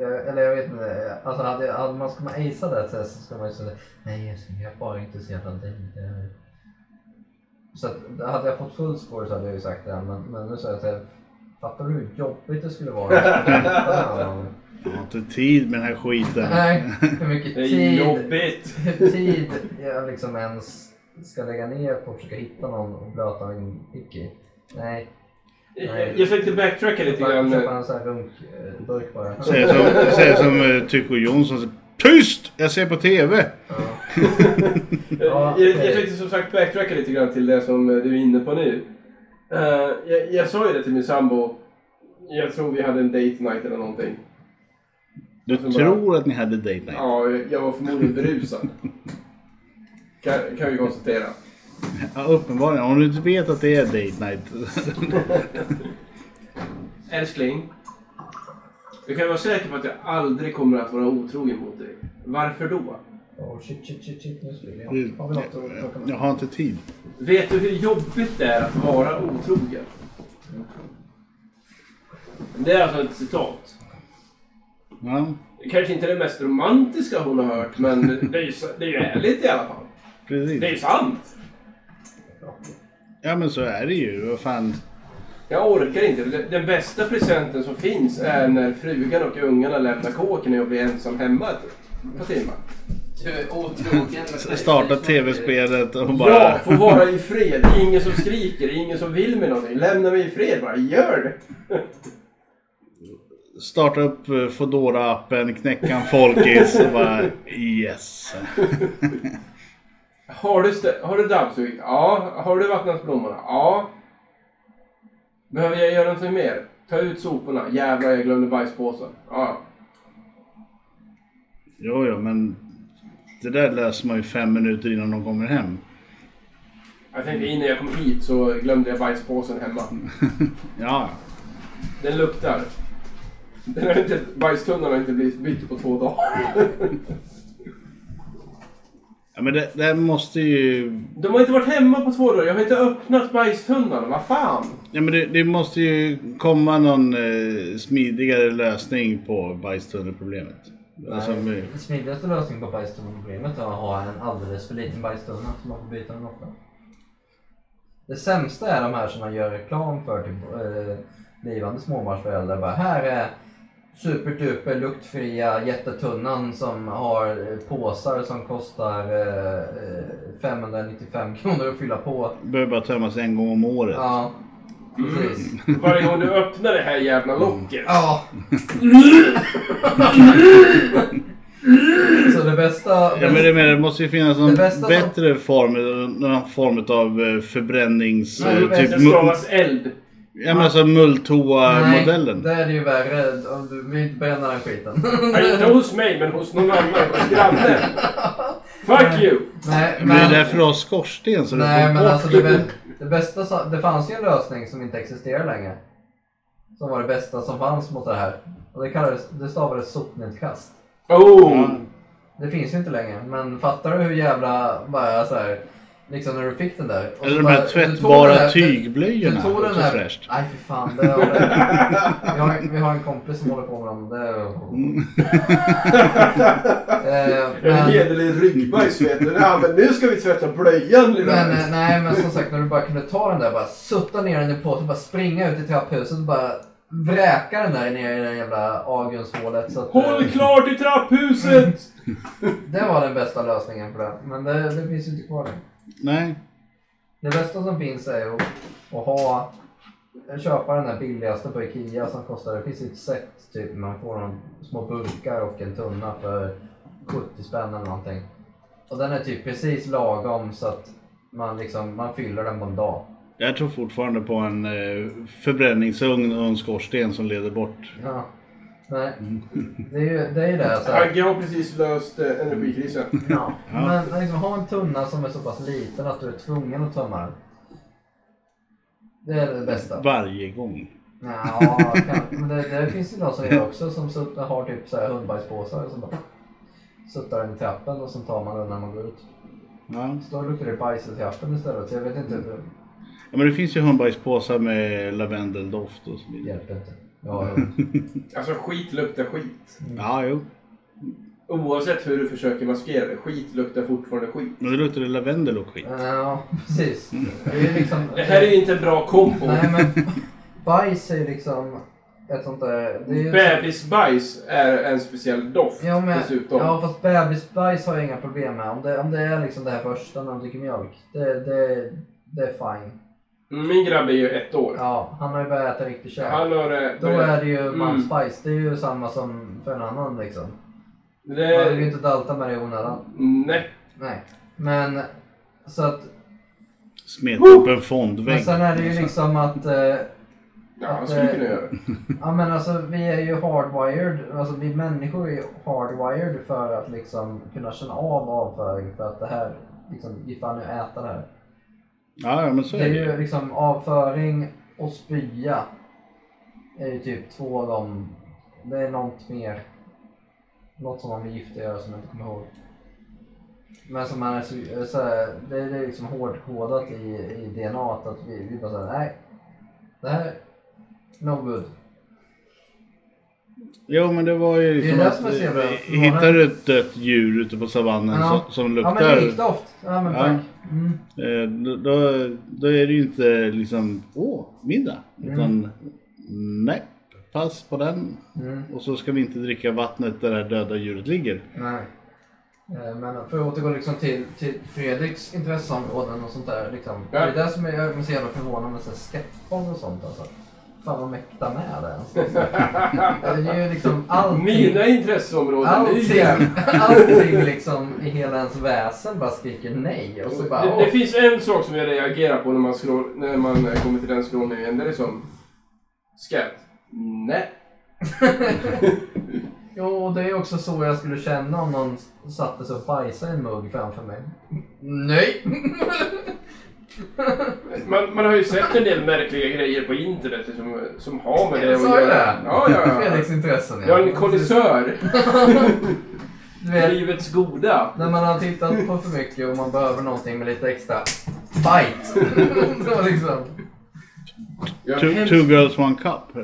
Speaker 1: jag- Eller jag vet inte. Alltså hade, hade man ska man acea det här testet så ska man ju säga Nej Jesus, jag är bara intresserad av dig. det är-" Så att, hade jag fått full score så hade jag ju sagt det. Men, men nu sa jag till henne, Fattar du hur jobbigt det skulle vara? Ja.
Speaker 2: Jag har inte tid med den här skiten.
Speaker 1: Nej, hur mycket
Speaker 3: Det är
Speaker 1: tid,
Speaker 3: jobbigt.
Speaker 1: hur tid jag liksom ens ska lägga ner på att försöka hitta någon och blöta min pick i. Nej, Nej.
Speaker 3: Jag försökte backtracka lite
Speaker 1: köpa, köpa
Speaker 3: grann. eh,
Speaker 1: en sån här runkburk bara.
Speaker 2: Säger som, säger som eh, Tycho Jonsson. säger, Tyst! Jag ser på TV!
Speaker 1: Ja.
Speaker 3: Jag,
Speaker 1: Ja,
Speaker 3: jag
Speaker 1: okej.
Speaker 3: försökte som sagt backtracka lite grann till det som eh, du är inne på nu. Eh, jag, jag sa ju det till min sambo. Jag tror vi hade en date night eller någonting.
Speaker 2: Du
Speaker 3: Alltså bara-
Speaker 2: tror att ni hade date night?
Speaker 3: Ja, jag- jag var förmodligen berusad. kan, kan vi konstatera.
Speaker 2: Ja, uppenbarligen. Om du inte vet att det är date night.
Speaker 3: Älskling. Du kan vara säker på att jag aldrig kommer att vara otrogen mot dig. Varför då?
Speaker 1: Oh shit, shit, shit, shit, nu skulle jag.
Speaker 2: Du-
Speaker 1: Har vi något att plocka med?
Speaker 2: Jag har inte tid.
Speaker 3: Vet du hur jobbigt det är att vara otrogen? Det är alltså ett citat.
Speaker 2: Ja,
Speaker 3: Det kanske inte är det mest romantiska hon har hört, men det är ju, det är ju ärligt i alla fall. Det är ju
Speaker 2: precis.
Speaker 3: sant!
Speaker 2: Ja men så är det ju. Vad fan.
Speaker 3: Jag orkar inte. Den- Den bästa presenten som finns är när frugan och ungarna lämnar kåken och jag blir ensam hemma ett par timmar.
Speaker 4: Du är otrogen.
Speaker 2: Starta tv-spelet och bara...
Speaker 3: Jag får vara i fred. Ingen som skriker, ingen som vill mig någonting. Lämna mig i fred bara. Gör det!
Speaker 2: Starta upp eh, fodora appen knäcka en folkis och bara yes.
Speaker 3: Har du, stä- har du dammsugit? Ja. Har du vattnat blommorna? Ja. Behöver jag göra någonting mer? Ta ut soporna. Jävlar, jag glömde bajspåsen. Ja.
Speaker 2: Jo, jo, men det där läser man ju fem minuter innan de kommer hem.
Speaker 3: Jag tänkte innan jag kom hit så glömde jag bajspåsen hemma.
Speaker 2: Ja,
Speaker 3: Den luktar. Den har inte, bajstunnan har inte blivit bytt på två dagar.
Speaker 2: Ja, men det, det måste ju...
Speaker 3: De har inte varit hemma på två dagar. Jag har inte öppnat bajstunnarna. Vad fan?
Speaker 2: Ja, men det, det måste ju komma någon eh, smidigare lösning på bajstunnelproblemet. Alltså, med-
Speaker 1: Den smidigaste lösningen på bajstunnelproblemet är att ha en alldeles för liten bajstunna som man får byta den ofta. Det sämsta är de här som man gör reklam för till eh, blivande småbarnsföräldrar. Bara, här är superduper luktfria jättetunnan som har eh, påsar som kostar eh, eh, 595 kronor att fylla på.
Speaker 2: behöver bara tömmas en gång om året.
Speaker 1: Ja, precis.
Speaker 3: Varje gång du öppnar det här jävla locket.
Speaker 1: Ja. Så det bästa...
Speaker 2: Ja, men det, menar, det måste ju finnas någon
Speaker 1: Det bästa som-
Speaker 2: bättre form, någon form av eh, förbrännings...
Speaker 1: Nej,
Speaker 2: eh,
Speaker 1: det
Speaker 2: typ,
Speaker 1: bästa
Speaker 3: Det
Speaker 2: mu-
Speaker 3: stavas eld.
Speaker 2: ja, men alltså mulltoa-modellen.
Speaker 1: det är det ju värre. Om du vill inte bränna den skiten.
Speaker 3: Nej, inte hos mig, men hos någon annan. Hos grannen. Fuck you!
Speaker 1: nej,
Speaker 2: Men
Speaker 1: men,
Speaker 2: det är därför du har skorsten så du
Speaker 1: nej,
Speaker 2: får
Speaker 1: men
Speaker 2: bort
Speaker 1: alltså det, bä- det bästa... som- Det fanns ju en lösning som inte existerar längre. Som var det bästa som fanns mot det här. Och det, kallades, det stavades sopnedkast.
Speaker 3: Oh!
Speaker 2: Ja.
Speaker 1: Det finns ju inte längre. Men fattar du hur jävla... Bara så här, liksom när du fick den där. Och
Speaker 2: Eller
Speaker 1: så
Speaker 2: de här
Speaker 1: Alltså bara-
Speaker 2: tvättbara
Speaker 1: du tog den här-
Speaker 2: tygblöjorna.
Speaker 1: Du tog den
Speaker 2: Också
Speaker 1: där...
Speaker 2: fräscht.
Speaker 1: Nej, för fan. Det har vi, har, vi har en kompis som håller på med dem. Det
Speaker 2: Mm.
Speaker 1: eh,
Speaker 3: En
Speaker 1: men,
Speaker 3: hederlig ryggbajs vet du. Ja, men nu ska vi tvätta blöjan
Speaker 1: men,
Speaker 3: lilla
Speaker 1: eh, nej, men som sagt, när du bara kunde ta den där, bara sutta ner den i påsen, bara springa ut i trapphuset och bara vräka den där ner i det jävla avgrundshålet. Så att, eh,
Speaker 3: Håll klart i trapphuset!
Speaker 1: det var den bästa lösningen på det. Men det, det finns ju inte kvar längre.
Speaker 2: Nej.
Speaker 1: Det bästa som finns är ju att, att ha köpa den där billigaste på Ikea som kostar, det finns ett set typ, man får de små burkar och en tunna för 70 spänn eller någonting. Och den är typ precis lagom så att man liksom, man fyller den på en dag.
Speaker 2: Jag tror fortfarande på en eh, förbränningsugn och en skorsten som leder bort.
Speaker 1: Ja. Nej, det är ju det, är ju det här, så här.
Speaker 3: Agge har precis löst eh, energikrisen.
Speaker 1: Ja. Men liksom, ha en tunna som är så pass liten att du är tvungen att tömma den. Det är det bästa.
Speaker 2: Varje gång.
Speaker 1: Ja, kan- men det, det finns ju de som gör också som sutt- har typ så här hundbajspåsar och så bara suttar den i trappen och så tar man den när man går ut.
Speaker 2: Ja.
Speaker 1: Så då luktar det bajs i trappen istället så jag vet inte, hur-
Speaker 2: Ja, men det finns ju hundbajspåsar med lavendeldoft och så
Speaker 1: det
Speaker 2: vidare.
Speaker 1: hjälper inte. Jag har hund.
Speaker 3: Alltså skit luktar skit.
Speaker 2: Ja, jo.
Speaker 3: Oavsett hur du försöker maskera det, skit luktar fortfarande skit.
Speaker 2: Men det luktar det lavendel och skit.
Speaker 1: Ja, precis. Det är ju liksom...
Speaker 3: Det här är ju inte en bra kombo.
Speaker 1: Nej men bajs är ju liksom ett sånt där... Det är ju...
Speaker 3: Bebisbajs är en speciell doft
Speaker 1: Ja, men,
Speaker 3: dessutom.
Speaker 1: ja fast bebisbajs har jag inga problem med. Om det, om det är liksom det här första när de dricker mjölk, det, det, det är fine.
Speaker 3: Min grabb är ju ett år.
Speaker 1: Ja, han har ju börjat äta riktig kärlek.
Speaker 3: Han har... eh,
Speaker 1: Då är det ju
Speaker 3: Mm.
Speaker 1: mumspice, det är ju samma som för en annan liksom. Man vill ju
Speaker 3: det...
Speaker 1: inte dalta med det i onödan.
Speaker 3: Nej.
Speaker 1: Nej. Men, så att,
Speaker 2: Smet upp en fondvägg.
Speaker 1: men sen är det ju liksom att, eh,
Speaker 3: Ja, han skulle kunna göra det.
Speaker 1: ja men alltså vi är ju hardwired, alltså vi människor är ju hardwired för att liksom kunna känna av avföring för att det här, liksom, ifall nu äta det här.
Speaker 2: Ja, ja, men så
Speaker 1: Det
Speaker 2: är
Speaker 1: är
Speaker 2: det ju.
Speaker 1: ju liksom avföring och spya är ju typ två av dem, det är något mer, något som man vill giftiggöra som jag inte kommer ihåg. Men som man är så, så här, det är det är liksom hårdkodat i, i DNA -t att vi, vi bara säger nej, det här, no good.
Speaker 2: Jo, men det var ju liksom
Speaker 1: det
Speaker 2: att,
Speaker 1: som är så jävla
Speaker 2: eh,
Speaker 1: förvånande.
Speaker 2: hittar du ett dött djur ute på savannen
Speaker 1: Ja.
Speaker 2: som, som
Speaker 1: Ja men
Speaker 2: luktar,
Speaker 1: likdoft, ja men
Speaker 2: Ja.
Speaker 1: tack. Mm.
Speaker 2: eh, då, då, då är det ju inte liksom, åh, middag. Utan, nej, pass på den.
Speaker 1: Mm.
Speaker 2: Och så ska vi inte dricka vattnet där det här döda djuret ligger.
Speaker 1: Nej. Eh, Men för att återgå liksom till, till Fredriks intresseområden och sånt där. Liksom.
Speaker 3: Ja.
Speaker 1: Det är det som är, jag är så jävla förvånad med så här skateboard och sånt. Alltså. Fan vad mäkta med det ens. Alltså. Det är ju liksom allting.
Speaker 3: Mina intresseområden är ju
Speaker 1: Allting,
Speaker 3: jävla-
Speaker 1: allting liksom i hela ens väsen bara skriker nej. Och så Alltså, bara,
Speaker 3: det, det
Speaker 1: åh,
Speaker 3: finns en sak som jag reagerar på när man, scroll, när man eh, kommer till den scrollen igen. Det är som... Skatt. Nej.
Speaker 1: jo, det är också så jag skulle känna om någon satte sig och bajsade i en mugg framför mig. Nej!
Speaker 3: Man, man har ju sett en del märkliga grejer på internet som, som har med det
Speaker 1: Jag
Speaker 3: att
Speaker 1: sa ju
Speaker 3: göra.
Speaker 1: det.
Speaker 3: Ja, ja, ja.
Speaker 1: Fredriks intressen
Speaker 3: Jag är en kondisör.
Speaker 1: Du vet,
Speaker 3: Livets goda.
Speaker 1: när man har tittat på för mycket och man behöver någonting med lite extra bite. Då liksom.
Speaker 3: Jag
Speaker 2: Two,
Speaker 3: hemskt-
Speaker 2: two girls one cup. Eh,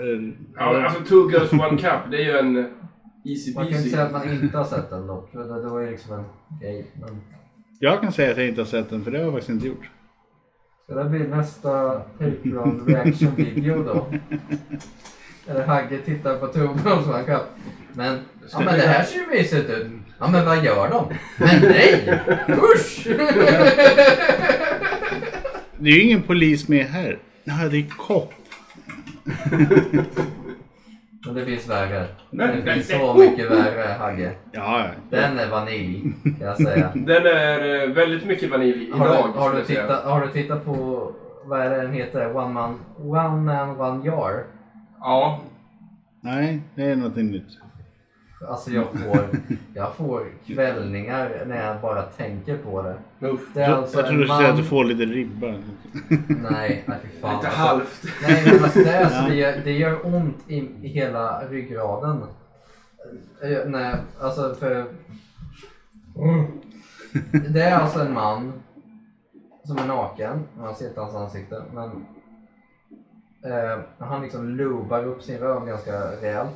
Speaker 3: Ja, alltså Two Girls One Cup, det är ju en easy
Speaker 1: Man kan inte
Speaker 3: peasy.
Speaker 1: säga att man inte har sett den dock. för Det det var ju liksom en grej. Men
Speaker 2: Jag kan säga att jag inte har sett den för det har jag faktiskt inte gjort.
Speaker 1: så det blir nästa Patreon reaction video då. Eller Hagge tittar på Torbjörn som han kan. Men, ja, men det här ser ju mysigt ut. Ja men vad gör de? Men nej! Usch!
Speaker 2: Det är ju ingen polis med här. Nej, det är kopp.
Speaker 1: Men det finns värre.
Speaker 3: Nej,
Speaker 1: Det finns
Speaker 3: nej,
Speaker 1: så mycket värre Hagge.
Speaker 2: Ja, ja.
Speaker 1: Den är vanilj kan jag säga.
Speaker 3: Den är eh, väldigt mycket vanilj idag.
Speaker 1: Har du, har,
Speaker 3: skulle
Speaker 1: du
Speaker 3: jag säga.
Speaker 1: tittat, har du tittat på, vad är det den heter? One man, one, man, one jar?
Speaker 3: Ja.
Speaker 2: Nej, det är någonting nytt.
Speaker 1: Alltså jag får, jag får kvällningar när jag bara tänker på det.
Speaker 3: Uff.
Speaker 1: Det är
Speaker 2: Jag,
Speaker 1: alltså
Speaker 2: jag
Speaker 1: en
Speaker 2: trodde du
Speaker 1: man...
Speaker 2: skulle säga att du får lite ribba.
Speaker 1: Nej, nej fy fan.
Speaker 3: Lite
Speaker 1: Alltså,
Speaker 3: halvt.
Speaker 1: Nej men alltså det, är så det, gör, det gör ont i, i hela ryggraden. Eh, Nej, alltså för... Det är alltså en man som är naken. Man ser inte hans ansikte. Men eh, han liksom lubar upp sin röv ganska rejält.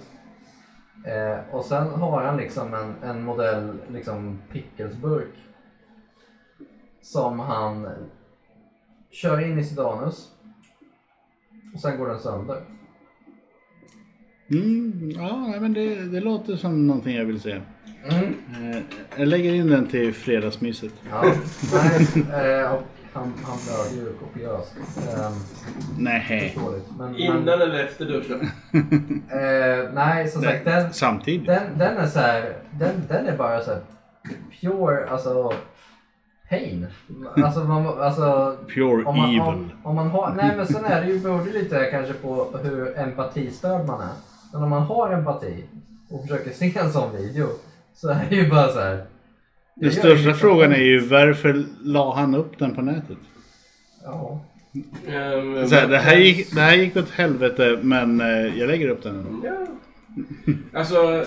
Speaker 1: Eh, och sen har han liksom en, en modell liksom pickelsburk. Som han kör in i sitt anus. Och sen går den sönder.
Speaker 2: Mm, ja, nej, men det, det låter som någonting jag vill se.
Speaker 1: Mm.
Speaker 2: Eh, Jag lägger in den till fredagsmyset.
Speaker 1: Ja. Nej, eh, och han, han blöder ju kopiöst. Eh,
Speaker 2: Nej.
Speaker 1: förståeligt. Men,
Speaker 3: Innan
Speaker 1: men,
Speaker 3: eller efter duschen.
Speaker 1: eh, nej, som sagt, den,
Speaker 2: Samtidigt.
Speaker 1: den, den är så här, den, den är bara så här pure, alltså pain. Alltså, man, alltså
Speaker 2: Pure
Speaker 1: om man,
Speaker 2: evil.
Speaker 1: om, om man har, nej men sen är det ju, beror det lite kanske på hur empatistörd man är. Men om man har empati och försöker se en sån video så är det ju bara så här.
Speaker 2: Den största frågan är ju varför la han upp den på nätet?
Speaker 1: Ja.
Speaker 3: Ehm,
Speaker 2: Så här, det, här gick, det här gick åt helvete men eh, jag lägger upp den ändå.
Speaker 3: Ja. Alltså,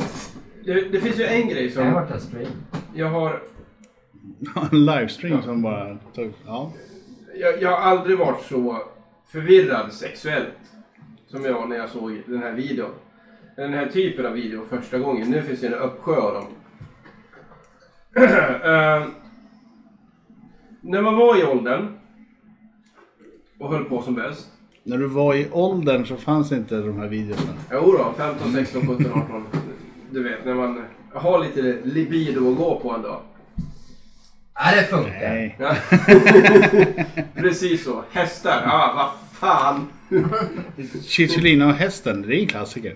Speaker 3: det, det finns ju en grej
Speaker 1: Det har
Speaker 3: som
Speaker 1: varit en stream.
Speaker 3: jag har...
Speaker 2: En livestream som bara tog... Ja.
Speaker 3: Jag, jag har aldrig varit så förvirrad sexuellt som jag var när jag såg den här videon. Den här typen av video första gången. Nu finns det en uppsjö av dem. Ehm, när man var i åldern och höll på som bäst.
Speaker 2: När du var i åldern så fanns inte de här videorna.
Speaker 3: Jo då, 15, 16, 17, 18. Du vet, när man har lite libido att gå på en dag.
Speaker 1: Nej, det funkar.
Speaker 2: Nej.
Speaker 3: Ja. Precis så. Hästar. Ja, vad fan.
Speaker 2: Chichilina och hästen, det är en klassiker.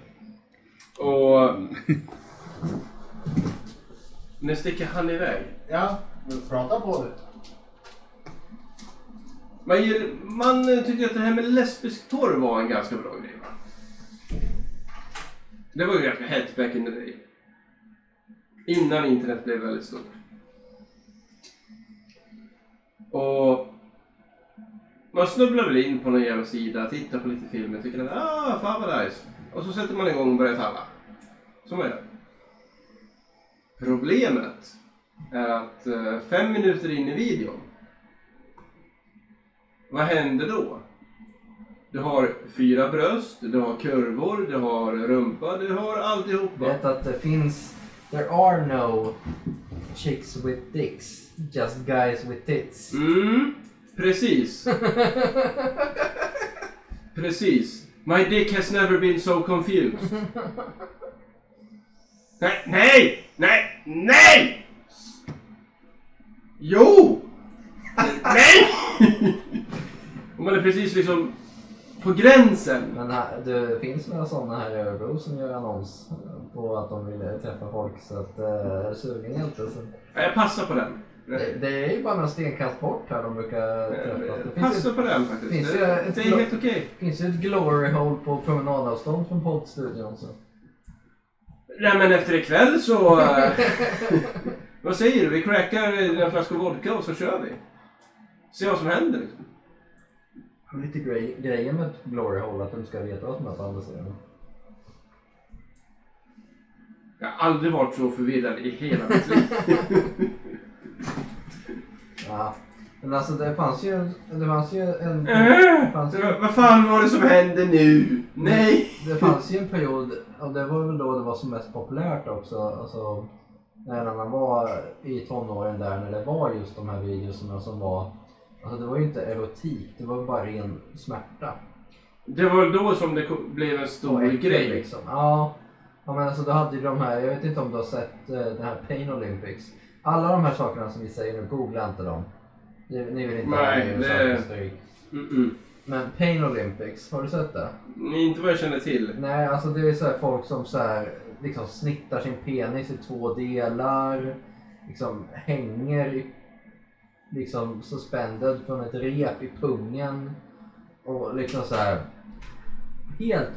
Speaker 3: Och... Mm. Nu sticker han iväg.
Speaker 5: Ja, men prata på det.
Speaker 3: Man, gill- man tyckte att det här med lesbisk porr var en ganska bra grej va? Det var ju ganska hett back in the day. Innan internet blev väldigt stort. Och man snubblar väl in på någon jävla sida, tittar på lite filmer, tycker att ah, fan vad nice. Och så sätter man igång och börjar talla. Så man gör. Problemet är att eh, fem minuter in i videon vad händer då? Du har fyra bröst, du har kurvor, du har rumpa, du har alltihopa.
Speaker 1: Vet att det finns... There are no chicks with dicks. Just guys with tits.
Speaker 3: Mm, precis. precis. My dick has never been so confused. nej, nej, nej, nej! Jo! nej! Och man är precis liksom på gränsen.
Speaker 1: Men här, det finns några sådana här i Örebro som gör annons på att de vill träffa folk. Så att, eh, är du sugen hjälte? Så.
Speaker 3: Nej, Jag passar på den.
Speaker 1: Det, det är ju bara några stenkast bort här de brukar träffas. Det finns ju,
Speaker 3: Passa på den faktiskt.
Speaker 1: finns
Speaker 3: det,
Speaker 1: ju
Speaker 3: det,
Speaker 1: ett
Speaker 3: är
Speaker 1: blå-
Speaker 3: helt okej.
Speaker 1: finns ju ett glory hole på promenadavstånd från poddstudion. Så.
Speaker 3: Nej men efter ikväll så... eh, vad säger du? Vi crackar eh, en flaska vodka och så kör vi. Se vad som händer. liksom.
Speaker 1: Lite grej, grejen med ett glory hole är att de ska veta vad som är på andra sidan.
Speaker 3: Jag har aldrig varit så förvirrad i hela mitt liv.
Speaker 1: Ja. Men alltså det fanns ju, det fanns ju en...
Speaker 3: Äh,
Speaker 1: Det fanns ju,
Speaker 3: vad- Vad fan var det som hände nu? Nej!
Speaker 1: det fanns ju en period, och det var väl då det var som mest populärt också, alltså när man var i tonåren där när det var just de här videorna som var, alltså det var ju inte erotik, det var bara ren smärta.
Speaker 3: Det var väl då som det ko- blev en stor
Speaker 1: Och äckel,
Speaker 3: grej.
Speaker 1: Liksom. Ja. ja, men alltså du hade ju de här, jag vet inte om du har sett eh, det här Pain Olympics. Alla de här sakerna som vi säger nu, googla inte dem. Ni, ni vill inte
Speaker 3: Nej,
Speaker 1: ha
Speaker 3: det-
Speaker 1: det... stryk.
Speaker 3: Mm-mm.
Speaker 1: Men Pain Olympics, har du sett det?
Speaker 3: Inte vad jag känner till.
Speaker 1: Nej, alltså det är så här folk som så här, liksom snittar sin penis i två delar, liksom hänger i, liksom suspended från ett rep i pungen och liksom så här helt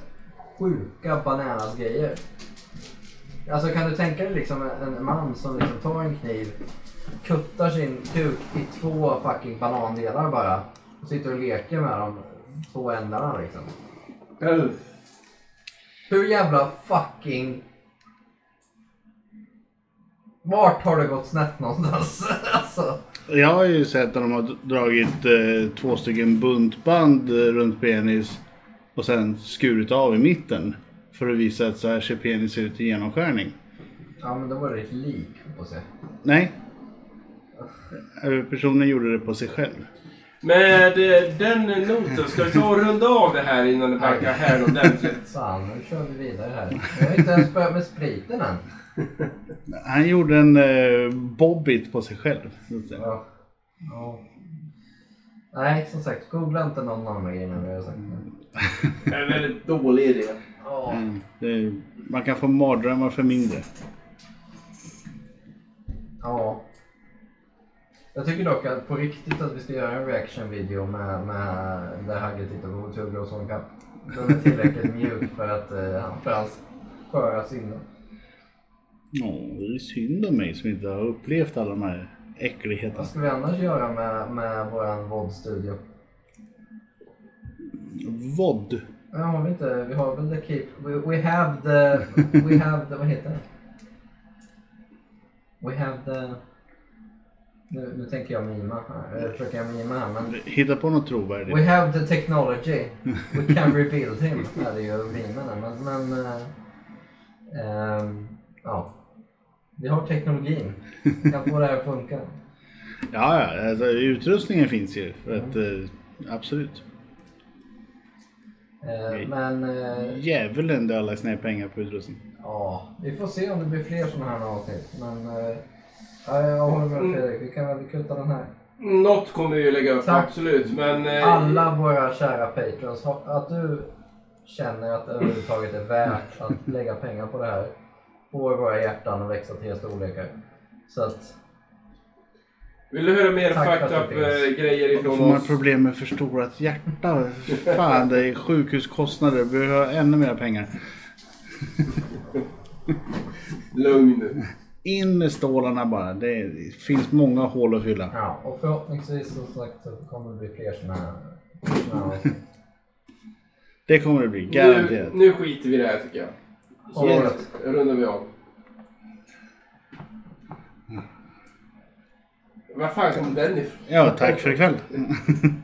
Speaker 1: sjuka bananas grejer. Alltså kan du tänka dig liksom en, en man som liksom tar en kniv, kuttar sin kuk i två fucking banandelar bara och sitter och leker med de två ändarna liksom. Hur jävla fucking... Vart har det gått snett någonstans? alltså,
Speaker 2: Jag har ju sett att de har dragit eh, två stycken buntband eh, runt penis och sen skurit av i mitten. För att visa att så här ser penis ut i genomskärning.
Speaker 1: ja men då var det ett lik på sig.
Speaker 2: Nej. Eh, Personen gjorde det på sig själv.
Speaker 3: Med eh, den noten, ska vi ta och runda av det här innan det barkar här ordentligt?
Speaker 1: Fan, nu kör vi vidare här. Jag har inte ens börjat med spriten än.
Speaker 2: Han gjorde en eh, bobbit på sig själv. så att säga.
Speaker 1: Ja. Ja. Nej, som sagt, googla inte någon av de här grejerna vi har sagt.
Speaker 3: Det är en väldigt dålig idé.
Speaker 1: Ja.
Speaker 2: Mm. Det är, man kan få mardrömmar för mindre.
Speaker 1: Ja. Jag tycker dock att på riktigt att vi ska göra en reaction-video med, med där Hagge tittar på Tuggla och sånt. Den är tillräckligt mjuk för att eh, han- för hans sköra sinnen.
Speaker 2: Ja, det är synd om mig som inte har upplevt alla de här äckligheterna.
Speaker 1: Vad ska vi annars göra med, med vår VOD-studio?
Speaker 2: Vodd.
Speaker 1: Ja, har vi inte, vi har väl the keep, we, we have the, we have the, vad heter det? We have the, nu, nu tänker jag mima här, eller försöker jag mima här men
Speaker 2: Hitta på något trovärdigt.
Speaker 1: We have the technology. We can rebuild him. Ja, det är ju rimmen där, men... men eh, ehm, ja. Vi har teknologin. Vi kan få det här att funka.
Speaker 2: Ja, ja alltså, utrustningen finns ju. För att, eh, absolut.
Speaker 1: Eh,
Speaker 2: Okej.
Speaker 1: Men... eh,
Speaker 2: Djävulen där alla sina pengar på utrustning.
Speaker 1: ja, vi får se om det blir fler sådana här avsnitt. Men... eh, ja, jag håller med Fredrik. Vi kan väl kutta den här.
Speaker 3: Något kommer vi ju lägga upp,
Speaker 1: Tack.
Speaker 3: absolut. Men eh,
Speaker 1: Alla våra kära patrons. har- Att du känner att det överhuvudtaget är värt att lägga pengar på det här. Får våra hjärtan att växa till storlekar. Så att...
Speaker 3: vill du höra mer
Speaker 1: Tack för
Speaker 3: fucked
Speaker 1: att
Speaker 3: up
Speaker 1: det finns.
Speaker 3: eh, grejer
Speaker 2: Då
Speaker 3: ifrån
Speaker 2: får man
Speaker 3: oss?
Speaker 2: problem med förstorat hjärta. Fan, det är sjukhuskostnader. Behöver jag ännu mer pengar.
Speaker 3: Lugn nu.
Speaker 2: In med stålarna bara. Det, är, det finns många hål att fylla.
Speaker 1: Ja, och förhoppningsvis som sagt så kommer det bli fler såna här. såna här avsnitt.
Speaker 2: Det kommer det bli,
Speaker 3: nu.
Speaker 2: garanterat.
Speaker 3: Nu skiter vi i det här tycker jag. Så
Speaker 1: Ja.
Speaker 3: rundar vi av. Var fan kom den ifrån?
Speaker 2: Ja, tack för ikväll.